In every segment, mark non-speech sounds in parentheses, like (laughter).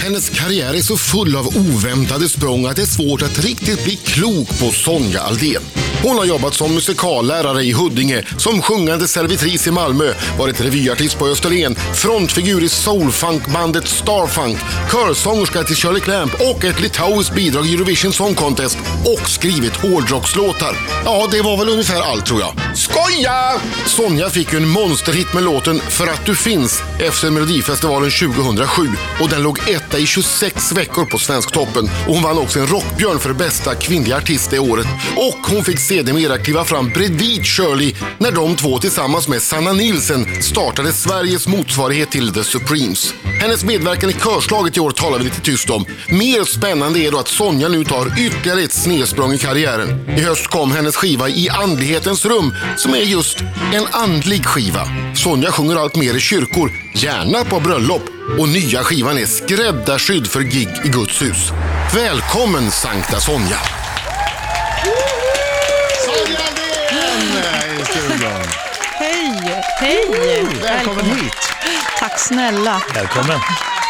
Hennes karriär är så full av oväntade språng att det är svårt att riktigt bli klok på Sonja Aldén. Hon har jobbat som musikallärare i Huddinge, som sjungande servitris i Malmö, varit revyartist på Österlen, frontfigur i soulfunkbandet Starfunk, körsångerska till Shirley Clamp och ett litauiskt bidrag i Eurovision Song Contest och skrivit hårdrockslåtar. Ja, det var väl ungefär allt tror jag. Skoja! Sonja fick ju en monsterhit med låten För att du finns efter Melodifestivalen 2007 och den låg etta i 26 veckor på Svensktoppen. Och hon vann också en Rockbjörn för bästa kvinnliga artist det året. Och hon fick sedermera kliva fram bredvid Shirley när de två tillsammans med Sanna Nilsen startade Sveriges motsvarighet till The Supremes. Hennes medverkan i körslaget i år talar vi lite tyst om. Mer spännande är då att Sonja nu tar ytterligare ett snedsprång i karriären. I höst kom hennes skiva I andlighetens rum som är just en andlig skiva. Sonja sjunger allt mer i kyrkor, gärna på bröllop och nya skivan är skräddarsydd för gig i Guds hus. Välkommen Sankta Sonja! Sonja Aldén i studion. Hej! Hej! Välkommen hit. Tack snälla. Välkommen.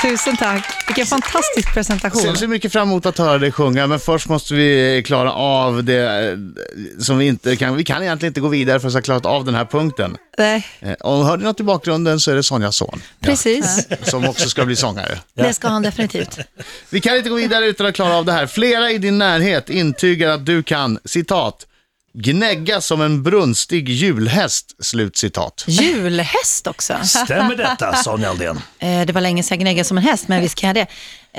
Tusen tack. Vilken fantastisk presentation. Ser så mycket fram emot att höra dig sjunga, men först måste vi klara av det eh, som vi inte kan. Vi kan egentligen inte gå vidare förrän vi har klarat av den här punkten. Nej, Eh, Om hör ni något i bakgrunden så är det Sonjas son, precis. som också ska bli sångare. Det ska han definitivt. Vi kan inte gå vidare utan att klara av det här. Flera i din närhet intygar att du kan, citat, gnägga som en brunstig julhäst, slut citat. Julhäst också. Stämmer (laughs) detta, Sonja Aldén? Eh, Det var länge sedan jag gnäggade som en häst, men visst kan jag det.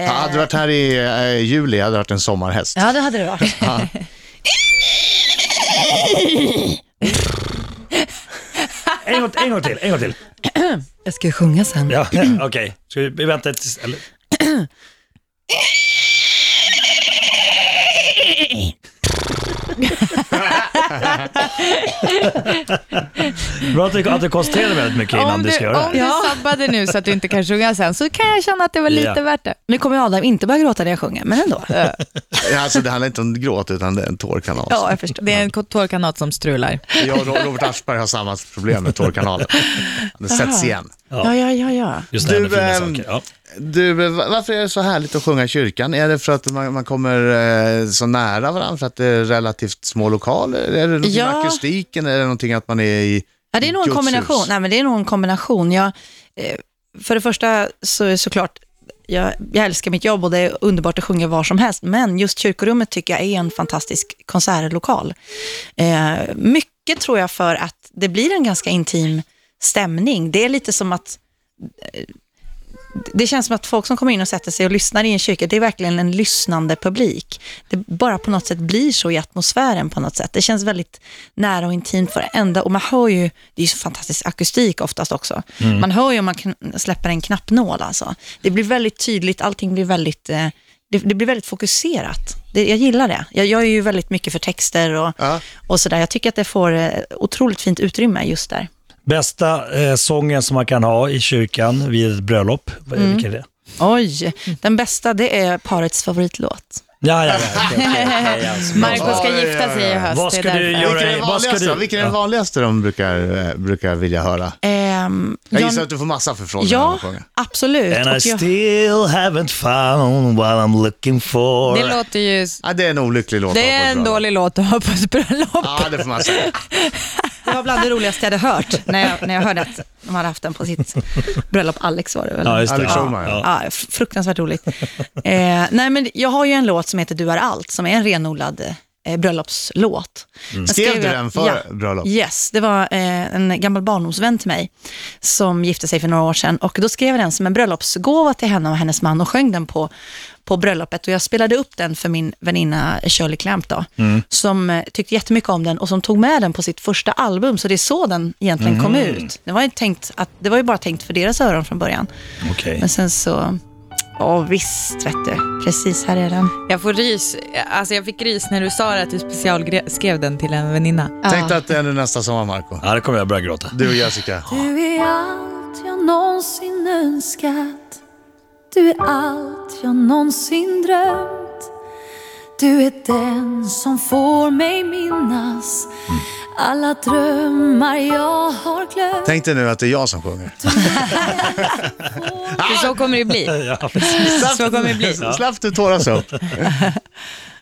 Eh, Hade du varit här i eh, juli hade du varit en sommarhäst. Ja, det hade det varit. En gång, en gång till, en gång till. Jag ska ju sjunga sen. Ja, (clears throat) okej. Ska vi vänta tills... Eller? (laughs) Bra att du, att du koncentrerar dig väldigt mycket innan om du, du, ska göra om det. du sabbade nu så att du inte kan sjunga sen så kan jag känna att det var lite Ja. värt det. Nu kommer Adam inte börja gråta när jag sjunger, men ändå. Ja, Alltså det handlar inte om gråt utan det är en tårkanal. Ja, jag förstår. Det är en tårkanat som strular. Jag och Robert Aschberg har samma problem med tårkanalen. Det sätts igen. Ja, ja, ja, ja. Just det här med Du, fina ehm, saker. Ja. Du, eh, va- varför är det så härligt att sjunga i kyrkan? Är det för att man, man kommer eh, så nära varandra för att det är relativt små lokaler? Är det någonting med Ja. akustiken? Är det någonting att man är i Ja, det är nog en Guds kombination. hus? Nej, men det är nog en kombination. Jag, eh, för det första så är såklart, jag, jag älskar mitt jobb och det är underbart att sjunga var som helst, men just kyrkorummet tycker jag är en fantastisk konsertlokal. Eh, mycket tror jag för att det blir en ganska intim stämning. Det är lite som att det känns som att folk som kommer in och sätter sig och lyssnar i en kyrka, det är verkligen en lyssnande publik. Det bara på något sätt blir så i atmosfären på något sätt. Det känns väldigt nära och intimt varenda, och man hör ju, det är ju så fantastisk akustik oftast också. Man hör ju om man kn- släpper en knappnål alltså. Det blir väldigt tydligt, allting blir väldigt, eh, det, det blir väldigt fokuserat. Det, jag gillar det. Jag gör ju väldigt mycket för texter och, Ja. och sådär. Jag tycker att det får eh, otroligt fint utrymme just där. Bästa eh, sången som man kan ha i kyrkan vid ett bröllop, Vad Mm. är- vilken är det? Oj, den bästa det är parets favoritlåt. Ja, ja, ja. okej, okej, okej, (laughs) alltså. Marco Ja, ska ja, gifta sig i ja. höst. Vad det är ska du därför. göra? Vilken är Nej, den vad ska vanligaste, du- Vilken är den vanligaste de brukar, eh, brukar vilja höra? Ehm, Jag John- gissar att du får massa förfrågningar om Ja, att sjunga. absolut. And I Och jag, still haven't found what I'm looking for. Det låter ju... Ja, det är en olycklig låt. Det är en dålig låt att ha på ett bröllop. Ja, det får man säga. det var bland det roligaste jag hade hört när jag, när jag hörde att de hade haft den på sitt bröllop. Alex var det väl? Ja, just det. Alex Ja, Schulman, ja. ja. Ja, fr- fruktansvärt roligt. (laughs) Eh, nej, men jag har ju en låt som heter Du är allt, som är en renodlad eh, bröllopslåt. Den Mm. Skrev skrev du jag- den för bröllop? Yes, det var eh, en gammal barndomsvän till mig som gifte sig för några år sedan och då skrev jag den som en bröllopsgåva till henne och hennes man och sjöng den på, på bröllopet och jag spelade upp den för min väninna Shirley Clamp då, Mm. som eh, tyckte jättemycket om den och som tog med den på sitt första album, så det är så den egentligen kom Mm. ut. Det var ju, tänkt att, det var ju bara tänkt för deras öron från början. Okej. Men sen så, ja visst vet du, precis här är den. Jag får rys. Alltså jag fick rys när du sa att du specialskrev den till en väninna. Tänk dig att det är nästa sommar, Marco. Ja, det kommer jag börja gråta. Du och Jessica. Du är allt jag någonsin önskat Du är allt jag någonsin drömt Du är den som får mig minnas alla drömmar jag har glömt. Tänk dig nu att det är jag som sjunger. För så kommer (laughs) det bli. (laughs) Ja, precis. Så kommer det bli. Slapp du tåras upp. Ja,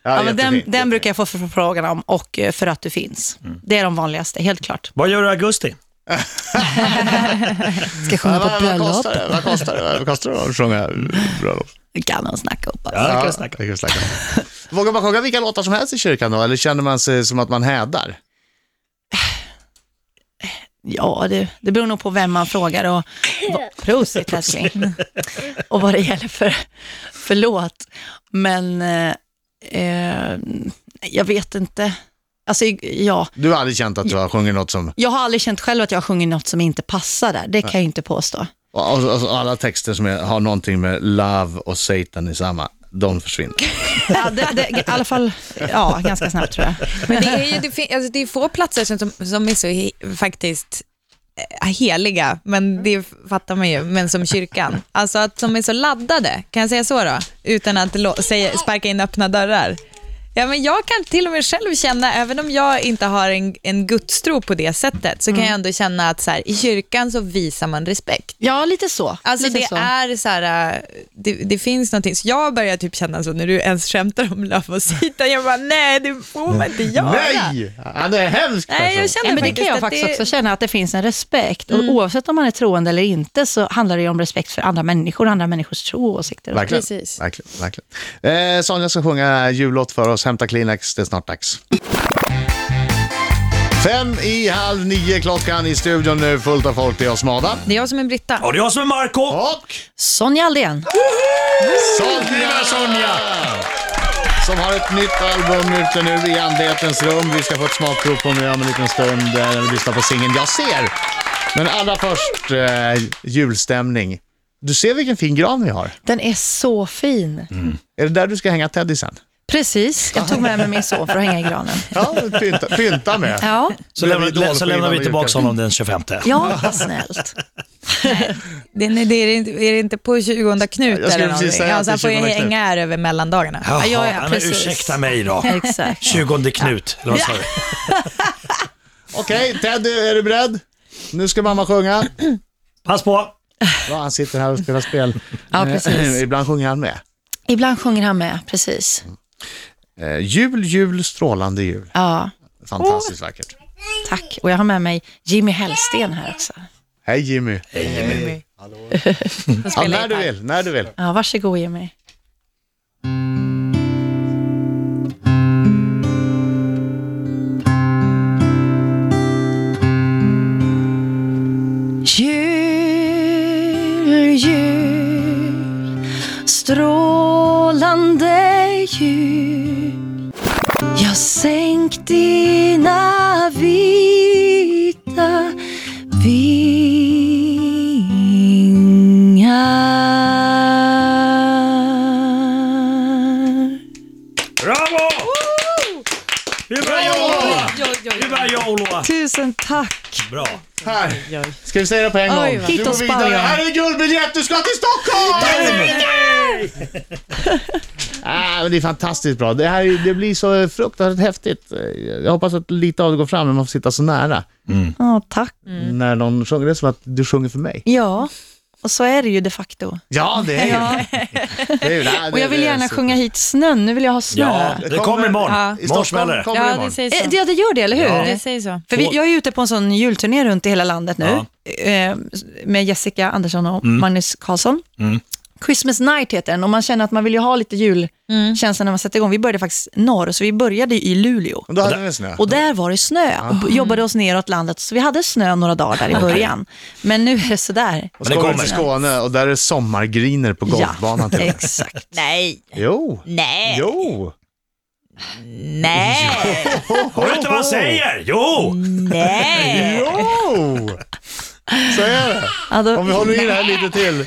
Ja, men den, jättefint. Mm. den brukar jag få förfrågan om och eh, för att du finns. Det är de vanligaste, helt klart. Vad gör du i augusti? Ska Ja, sjunga på vad, vad ett bröllop. kostar det? Vad kostar det? Vad kostar det att sjunga bröllop? Kan de snacka upp alltså. Ja, Ja, det kan vi snacka om. Vågar man sjunga vilka låtar som helst i kyrkan då? Eller känner man sig som att man hädar? Ja, det, det beror nog på vem man frågar och vad- (laughs) prosit älskling. Och vad det gäller för, för låt. Men eh, eh, jag vet inte. Alltså, ja. Du har aldrig känt att du har sjungit något som... Jag har aldrig känt själv att jag har sjungit något som inte passar där. Det kan jag ju inte påstå. Och, och, och alla texter som är, har någonting med love och Satan i samma, de försvinner. Ja, det, det, I alla fall ja, ganska snabbt tror jag. Men det är ju det fin- alltså det är få platser som, som, som är så he- faktiskt eh, heliga, Mm. men det fattar man ju, men som kyrkan. Alltså att de är så laddade, kan jag säga så då? Utan att lo- säga, sparka in öppna dörrar. Ja, men jag kan till och med själv känna, även om jag inte har en, en gudstro på det sättet, så Mm. kan jag ändå känna att så här, i kyrkan så visar man respekt. Ja, lite så. Alltså lite det så. är så här, äh, det, det finns någonting, så jag börjar typ känna så när du ens skämtar om Love och Sita, jag bara nej det får man inte göra. Nej! Han är hemsk Nej, jag person. känner Ja, men det Mm. kan faktiskt jag att faktiskt det, också känna, att det finns en respekt. Och oavsett om man är troende eller inte så handlar det ju om respekt för andra människor, andra människors tro och åsikter. Verkligen. Precis. verkligen, verkligen. Eh, Sonja ska sjunga jullåt för oss. Hämta Kleenex, det är snart dags. Fem i halv nio klockan i studion nu, fullt av folk. Det är jag som är Adam. det är jag som är Britta. Och det är jag som är Marco Och Sonja Aldén. Sonja! Sonja! Som har ett nytt album ute nu i andlighetens rum. Vi ska få ett smakprov på nu om en liten stund eh, när vi lyssnar på singeln Jag ser. Men allra först, eh, julstämning. Du ser vilken fin gran vi har. Den är så fin. Är det där du ska hänga Teddy sen? Precis, jag tog med mig min son för att hänga i granen. Ja, (laughs) pynta, pynta med. Ja, Så, Det lämnar- blir dåligt så på lämnar vi innan tillbaka julklappen. honom den 25. ja vad snällt. Det, nej, det är, det inte- är det inte på 20 Jag Knut skulle eller precis någonting? säga att Alltså, det är han får ju 20 Knut. hänga här över mellandagarna. Jaha, ja, ja, men precis. ursäkta mig då. Exakt. 20 Knut, eller vad sa du? Okej, Teddy, är du beredd? Nu ska mamma sjunga. Pass på! Ja, han sitter här och spelar spel. Eh, Ja, precis. (laughs) Ibland sjunger han med. Ibland sjunger han med, precis. Eh, jul, jul, strålande jul. Ja, Fantastiskt vackert. tack. Och jag har med mig Jimmy Hellsten här också. Hej Jimmy. De Ja, spelar när du gitarr. vill, när du vill. Ja, varsågod Jimmy. Jul, jul, strålande jul. Jag sänk dina vita vingar. Bravo! Hurra Joloa! Oj, oj, oj. Hurra Joloa! Tusen tack. Bra. Här. Ska vi säga det på en gång? Oj, vad- Du Hit går och vidare. sparra. Här är en guldbiljett, du ska till Stockholm! Ah, men det är fantastiskt bra. Det, här, är- det blir så fruktansvärt häftigt. Eh, Jag hoppas att lite av det går fram när man får sitta så nära. Ja, tack. När någon sjunger, det är som att du sjunger för mig. Ja, och så är det ju de facto. Ja, det är ju Ja. det. Är ju det. Och jag vill gärna sjunga hit snön, nu vill jag ha snö. Ja, det kommer imorgon. I Imorgon Stockholm smäller kommer det. det Ja, imorgon. det säger Eh, så. Ja, det gör det, eller hur? Det säger så. För vi, jag är ute på en sån julturné runt i hela landet nu eh, med Jessica Andersson och Magnus Karlsson. Christmas Night heter den och man känner att man vill ju ha lite julkänsla när man sätter igång. Vi började faktiskt norr, så vi började i Luleå. Då hade vi snö. Och där var det snö och b- jobbade oss neråt landet, så vi hade snö några dagar där i början. Men nu är det sådär. Och så Men det kommer vi till kommer. Skåne och där är sommargriner på golfbanan. Ja, till (laughs) och med. exakt. Nej, Jo. nej, Jo. (laughs) nej, Hör du inte vad han säger? Jo! nej. Jo! Så är det. Ja, då, Om vi håller i det här lite till.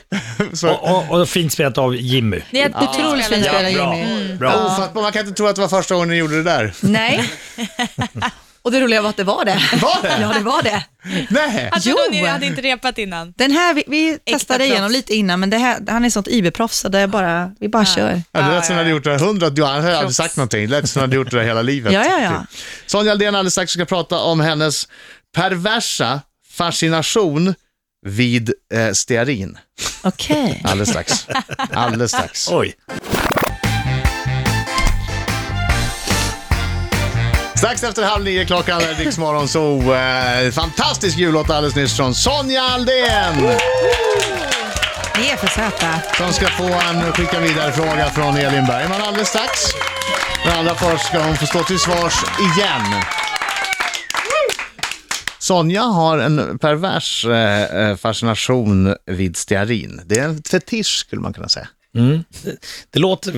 Så. Och, och, och fint spelat av Jimmy. Det är Otroligt fint spelat Jimmy. Bra. Oh, Ofattbart, man kan inte tro att det var första gången ni gjorde det där. Nej. (laughs) Och det roliga var att det var det. Var det? (laughs) Ja, det var det. Nej. Jag trodde Alltså, ni Jo. hade inte repat innan. Den här, vi, vi testade proffs. igenom lite innan, men det här, han är sånt IB-proffs, så det är bara, vi bara kör. Ja, det lät som att du hade gjort det hundra, du hade aldrig sagt någonting. Det lät som att du hade gjort det hela livet. Typ. Ja, ja, ja. Sonja Aldén alldeles strax ska prata om hennes perversa fascination vid eh, stearin. Okej. Alldeles strax. Alldeles strax. Oj. Strax efter halv nio klockan är Rix Morgon så eh, fantastisk jullåt alldeles nyss från Sonja Aldén Ni är för söta. som ska få en skicka vidare fråga från Elin Bergman alldeles strax. Men allra först ska hon få stå till svars igen. Sonja har en pervers eh, eh, fascination vid stearin. Det är en fetisch skulle man kunna säga. Det låter,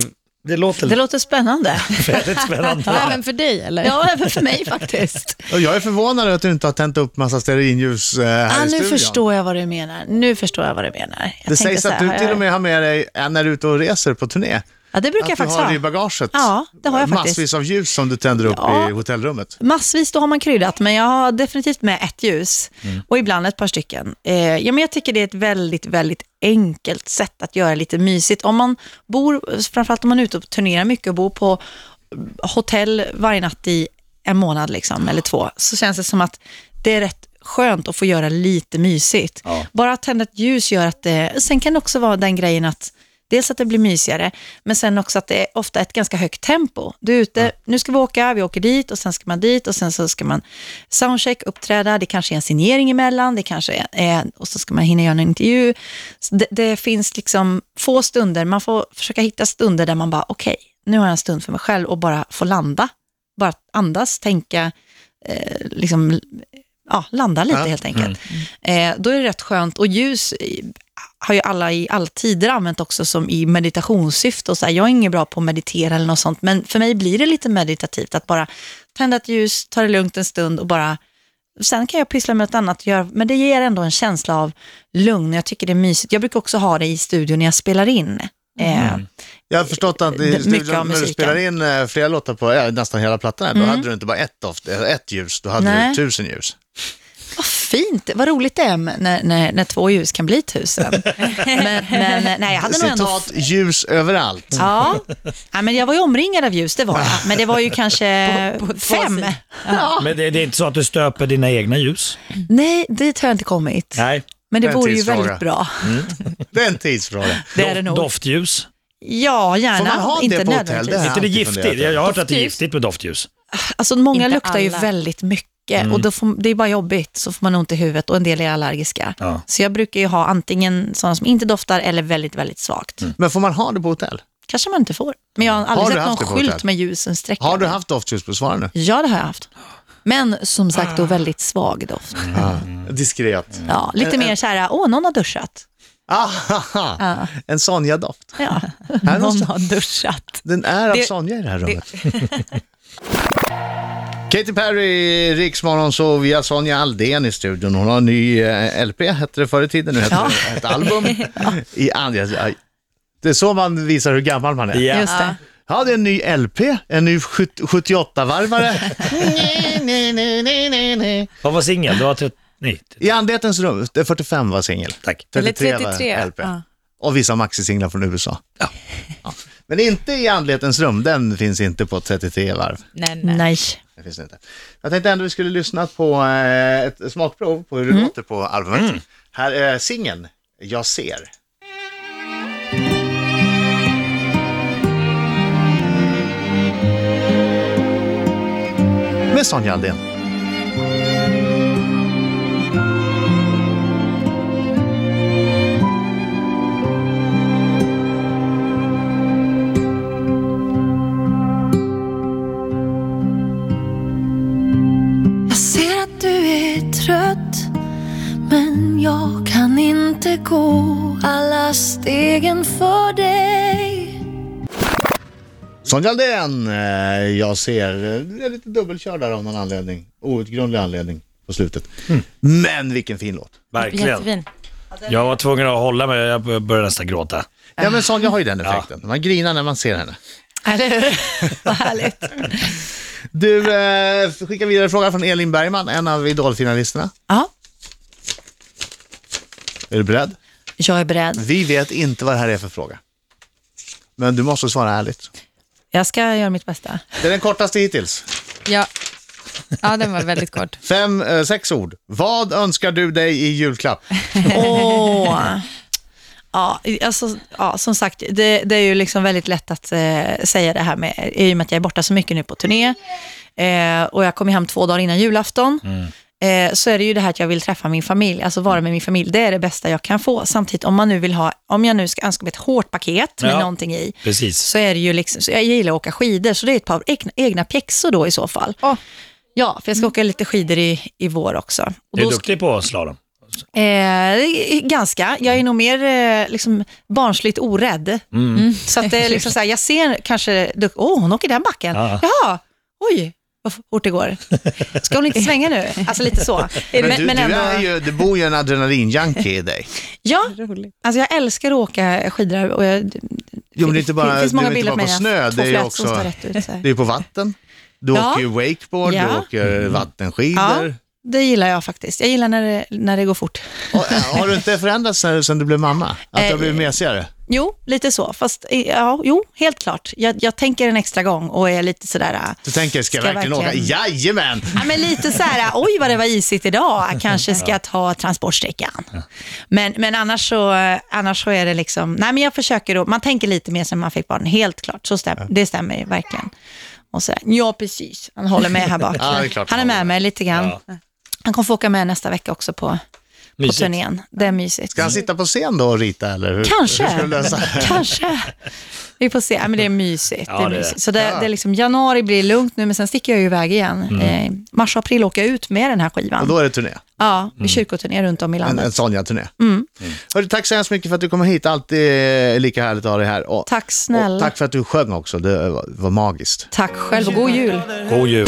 det låter Det låter spännande. väldigt spännande. Även för dig eller? Ja, även för mig faktiskt. Och jag är förvånad över att du inte har tänt upp massa stearinljus eh, (laughs) här Ah, i nu studion. förstår jag vad du menar. Nu förstår jag vad du menar. Jag Det tänkte sägs så att här, har du jag- till och med har med dig en när du är ute och reser på turné. Ja, det brukar jag Att du faktiskt har ha. i bagaget. Ja, det har jag Massvis faktiskt. av ljus som du tänder upp Ja. i hotellrummet. Massvis, då har man kryddat, men jag har definitivt med ett ljus Mm. och ibland ett par stycken. Eh, ja, men jag tycker det är ett väldigt, väldigt enkelt sätt att göra lite mysigt. Om man bor, framförallt om man är ute och turnerar mycket och bor på hotell varje natt i en månad liksom, eller två, så känns det som att det är rätt skönt att få göra lite mysigt. Bara att tända ett ljus gör att det, sen kan det också vara den grejen att Dels att det blir mysigare, men sen också att det är ofta ett ganska högt tempo. Du är ute, nu ska vi åka, vi åker dit och sen ska man dit och sen så ska man soundcheck, uppträda, det kanske är en signering emellan, det kanske är, och så ska man hinna göra en intervju. Så det, det finns liksom få stunder, man får försöka hitta stunder där man bara, okej, nu har jag en stund för mig själv och bara få landa, bara andas, tänka, eh, liksom, ja, landa lite Ja. helt enkelt. Eh, då är det rätt skönt, och ljus eh, har ju alla i alla tider använt också som i meditationssyfte. Och så här, jag är ingen bra på att meditera eller något sånt, men för mig blir det lite meditativt att bara tända ett ljus, ta det lugnt en stund och bara Sen kan jag pyssla med något annat, och göra- men det ger ändå en känsla av lugn. Jag tycker det är mysigt. Jag brukar också ha det i studion när jag spelar in. Eh, Jag har förstått att i Mycket studion, av när du musiken. Mm. spelar in eh, flera låtar på ja, nästan hela plattan, här, då hade du inte bara ett, doft, eh, ett ljus, då hade Nej. du tusen ljus. Vad fint, vad roligt det är med- när, när, när två ljus kan bli (laughs) tusen. men, men nej, jag hade nog ändå... Citat, ljus överallt. Ja. ja, men jag var ju omringad av ljus, det var jag. Men det var ju (laughs) kanske fem. sidor. Ja. Men det, det är inte så att du stöper dina egna ljus? Nej, dit har jag inte kommit. Nej. Men det Det är en vore ju tidsfråga. väldigt bra. Det är en tidsfråga. Det är det nog. Doftljus? Ja, gärna. Får man ha det inte på hotell? nödvändigtvis. Det här- inte det alltid funderat giftigt? över. Jag, jag har hört att det är Doftljus? giftigt med doftljus. Alltså, många Inte luktar ju alla. väldigt mycket Mm. och då får, det är bara jobbigt. Så får man ont i huvudet och en del är allergiska. Ja. Så jag brukar ju ha antingen sådana som inte doftar eller väldigt, väldigt svagt. Men får man ha det på hotell? Kanske man inte får. Men jag har aldrig Mm. Har du haft sett det någon på hotell? skylt med ljusen streckade. Har du haft doftljus på svararna? Ja, det har jag haft. Men som sagt då väldigt svag doft. Diskret. Ja, lite mer så här, åh, någon har duschat. Ahaha, Ja. Ah, en Sonja-doft. Ja. (laughs) Här måste- har duschat. Den är av Det- Sonja i det här rummet. (laughs) Katy Perry, Riksmorgon, så via Sonja Aldén i studion. Hon har en ny eh, LP, hette det förr i tiden, nu heter Ja. det ett album. I andra, aj. det är så man visar hur gammal man är. Ja. Just det. Ja, det är en ny LP, en ny 78-varvare. (laughs) Vad var singel? Du var 30... Nej, I andetens rum, det är 45 var singel. tack. 33, Eller 33, var LP. ja. Och vissa maxisinglar från USA. Ja. Men inte i andlighetens rum, den finns inte på 33 varv. Nej, nej. Nej. Det finns det inte. Jag tänkte ändå vi skulle lyssna på eh, ett smakprov på hur Mm. det låter på albumet. Här är singeln Jag ser. Med Sonja Aldén. Jag ser att du är trött Men jag kan inte gå alla stegen för dig Sonja Aldén, eh, Jag ser. Det är lite dubbelkörd där av någon anledning. Outgrundlig anledning på slutet. Men vilken fin låt. Verkligen. Jättefin. Jag var tvungen att hålla mig. Jag började nästan gråta. Ja men Sonja har ju den effekten. Man grinar när man ser henne. Eller hur? Vad härligt. Du, eh, skicka vidare en fråga från Elin Bergman, en av idolfinalisterna. Ja, Är du beredd? jag är beredd. Vi vet inte vad det här är för fråga. Men du måste svara ärligt. Jag ska göra mitt bästa. Det är den kortaste hittills. Ja. ja, den var väldigt kort. Fem, eh, sex ord. Vad önskar du dig i julklapp? Åh. (laughs) Ja, alltså, ja, som sagt, det, det är ju liksom väldigt lätt att eh, säga det här med, i och med att jag är borta så mycket nu på turné eh, och jag kommer hem två dagar innan julafton. Mm. Eh, så är det ju det här att jag vill träffa min familj, alltså vara med min familj. Det är det bästa jag kan få. Samtidigt om man nu vill ha, om jag nu ska önska mig ett hårt paket med Ja. någonting i, Precis. så är det ju liksom, så jag gillar att åka skidor, så det är ett par egna, egna pjäxor då i så fall. Åh. Ja, för jag ska åka lite skidor i, i vår också. Och Du är då ska- duktig på slalom. Eh, ganska. Jag är nog mer eh, liksom, barnsligt orädd. Mm. Så att det är liksom så här, jag ser kanske, du- åh oh, hon åker den backen. Ja. Jaha, oj vad fort det går. Ska hon inte svänga nu? Alltså lite så. Men, du, du, är ju, det bor ju en adrenalinjunkie i dig. Ja, alltså jag älskar att åka skidor. Och jag, Jo, men det är inte bara, det finns det många är inte bilder bara på på mig när snö, jag- det två är ju flät som står också rätt ut. Så här. det är på vatten. Du Ja. åker ju wakeboard, du Ja. Mm. åker Ja, vattenskidor. det gillar jag faktiskt. Jag gillar när det, när det går fort. Och, eh, har du inte förändrats sen, sen du blev mamma? Att du har Eh, blivit mesigare? Jo, lite så. Fast eh, ja, jo, helt klart. Jag, jag tänker en extra gång och är lite sådär... eh, Du tänker, ska jag Ska verkligen åka? verkligen. Jajamän! Ja, men lite så här, oj vad det var (laughs) isigt idag, kanske ska jag ta transportsträckan. Men, men annars, så, äh, annars så är det liksom, nej men jag försöker då, man tänker lite mer sen man fick barn, helt klart, så stäm, det stämmer ju verkligen. Och så där, ja precis, han håller med här bak. (laughs) Ja, det är klart. han är med mig lite grann. Han kommer få åka med nästa vecka också på, på Mysigt. turnén, det är mysigt. Ska han sitta på scen då och rita eller? Hur, Mm. Kanske. Hur ska du lösa? (laughs) Kanske. Vi får se. Ja, men det är mysigt. Ja, det är det är mysigt. Så det, det är liksom, januari blir lugnt nu, men sen sticker jag ju iväg igen. Eh, mars och april åker jag ut med den här skivan. Och då eh, är det turné. Ja, vi kyrkoturné runt om i En, landet. en Sonja-turné. Mm. Mm. Hörru, tack så hemskt mycket för att du kom hit. Alltid eh, lika härligt att ha dig här. Och, Tack snälla. Och tack för att du sjöng också. Det var, var magiskt. Tack själv och god jul. God jul.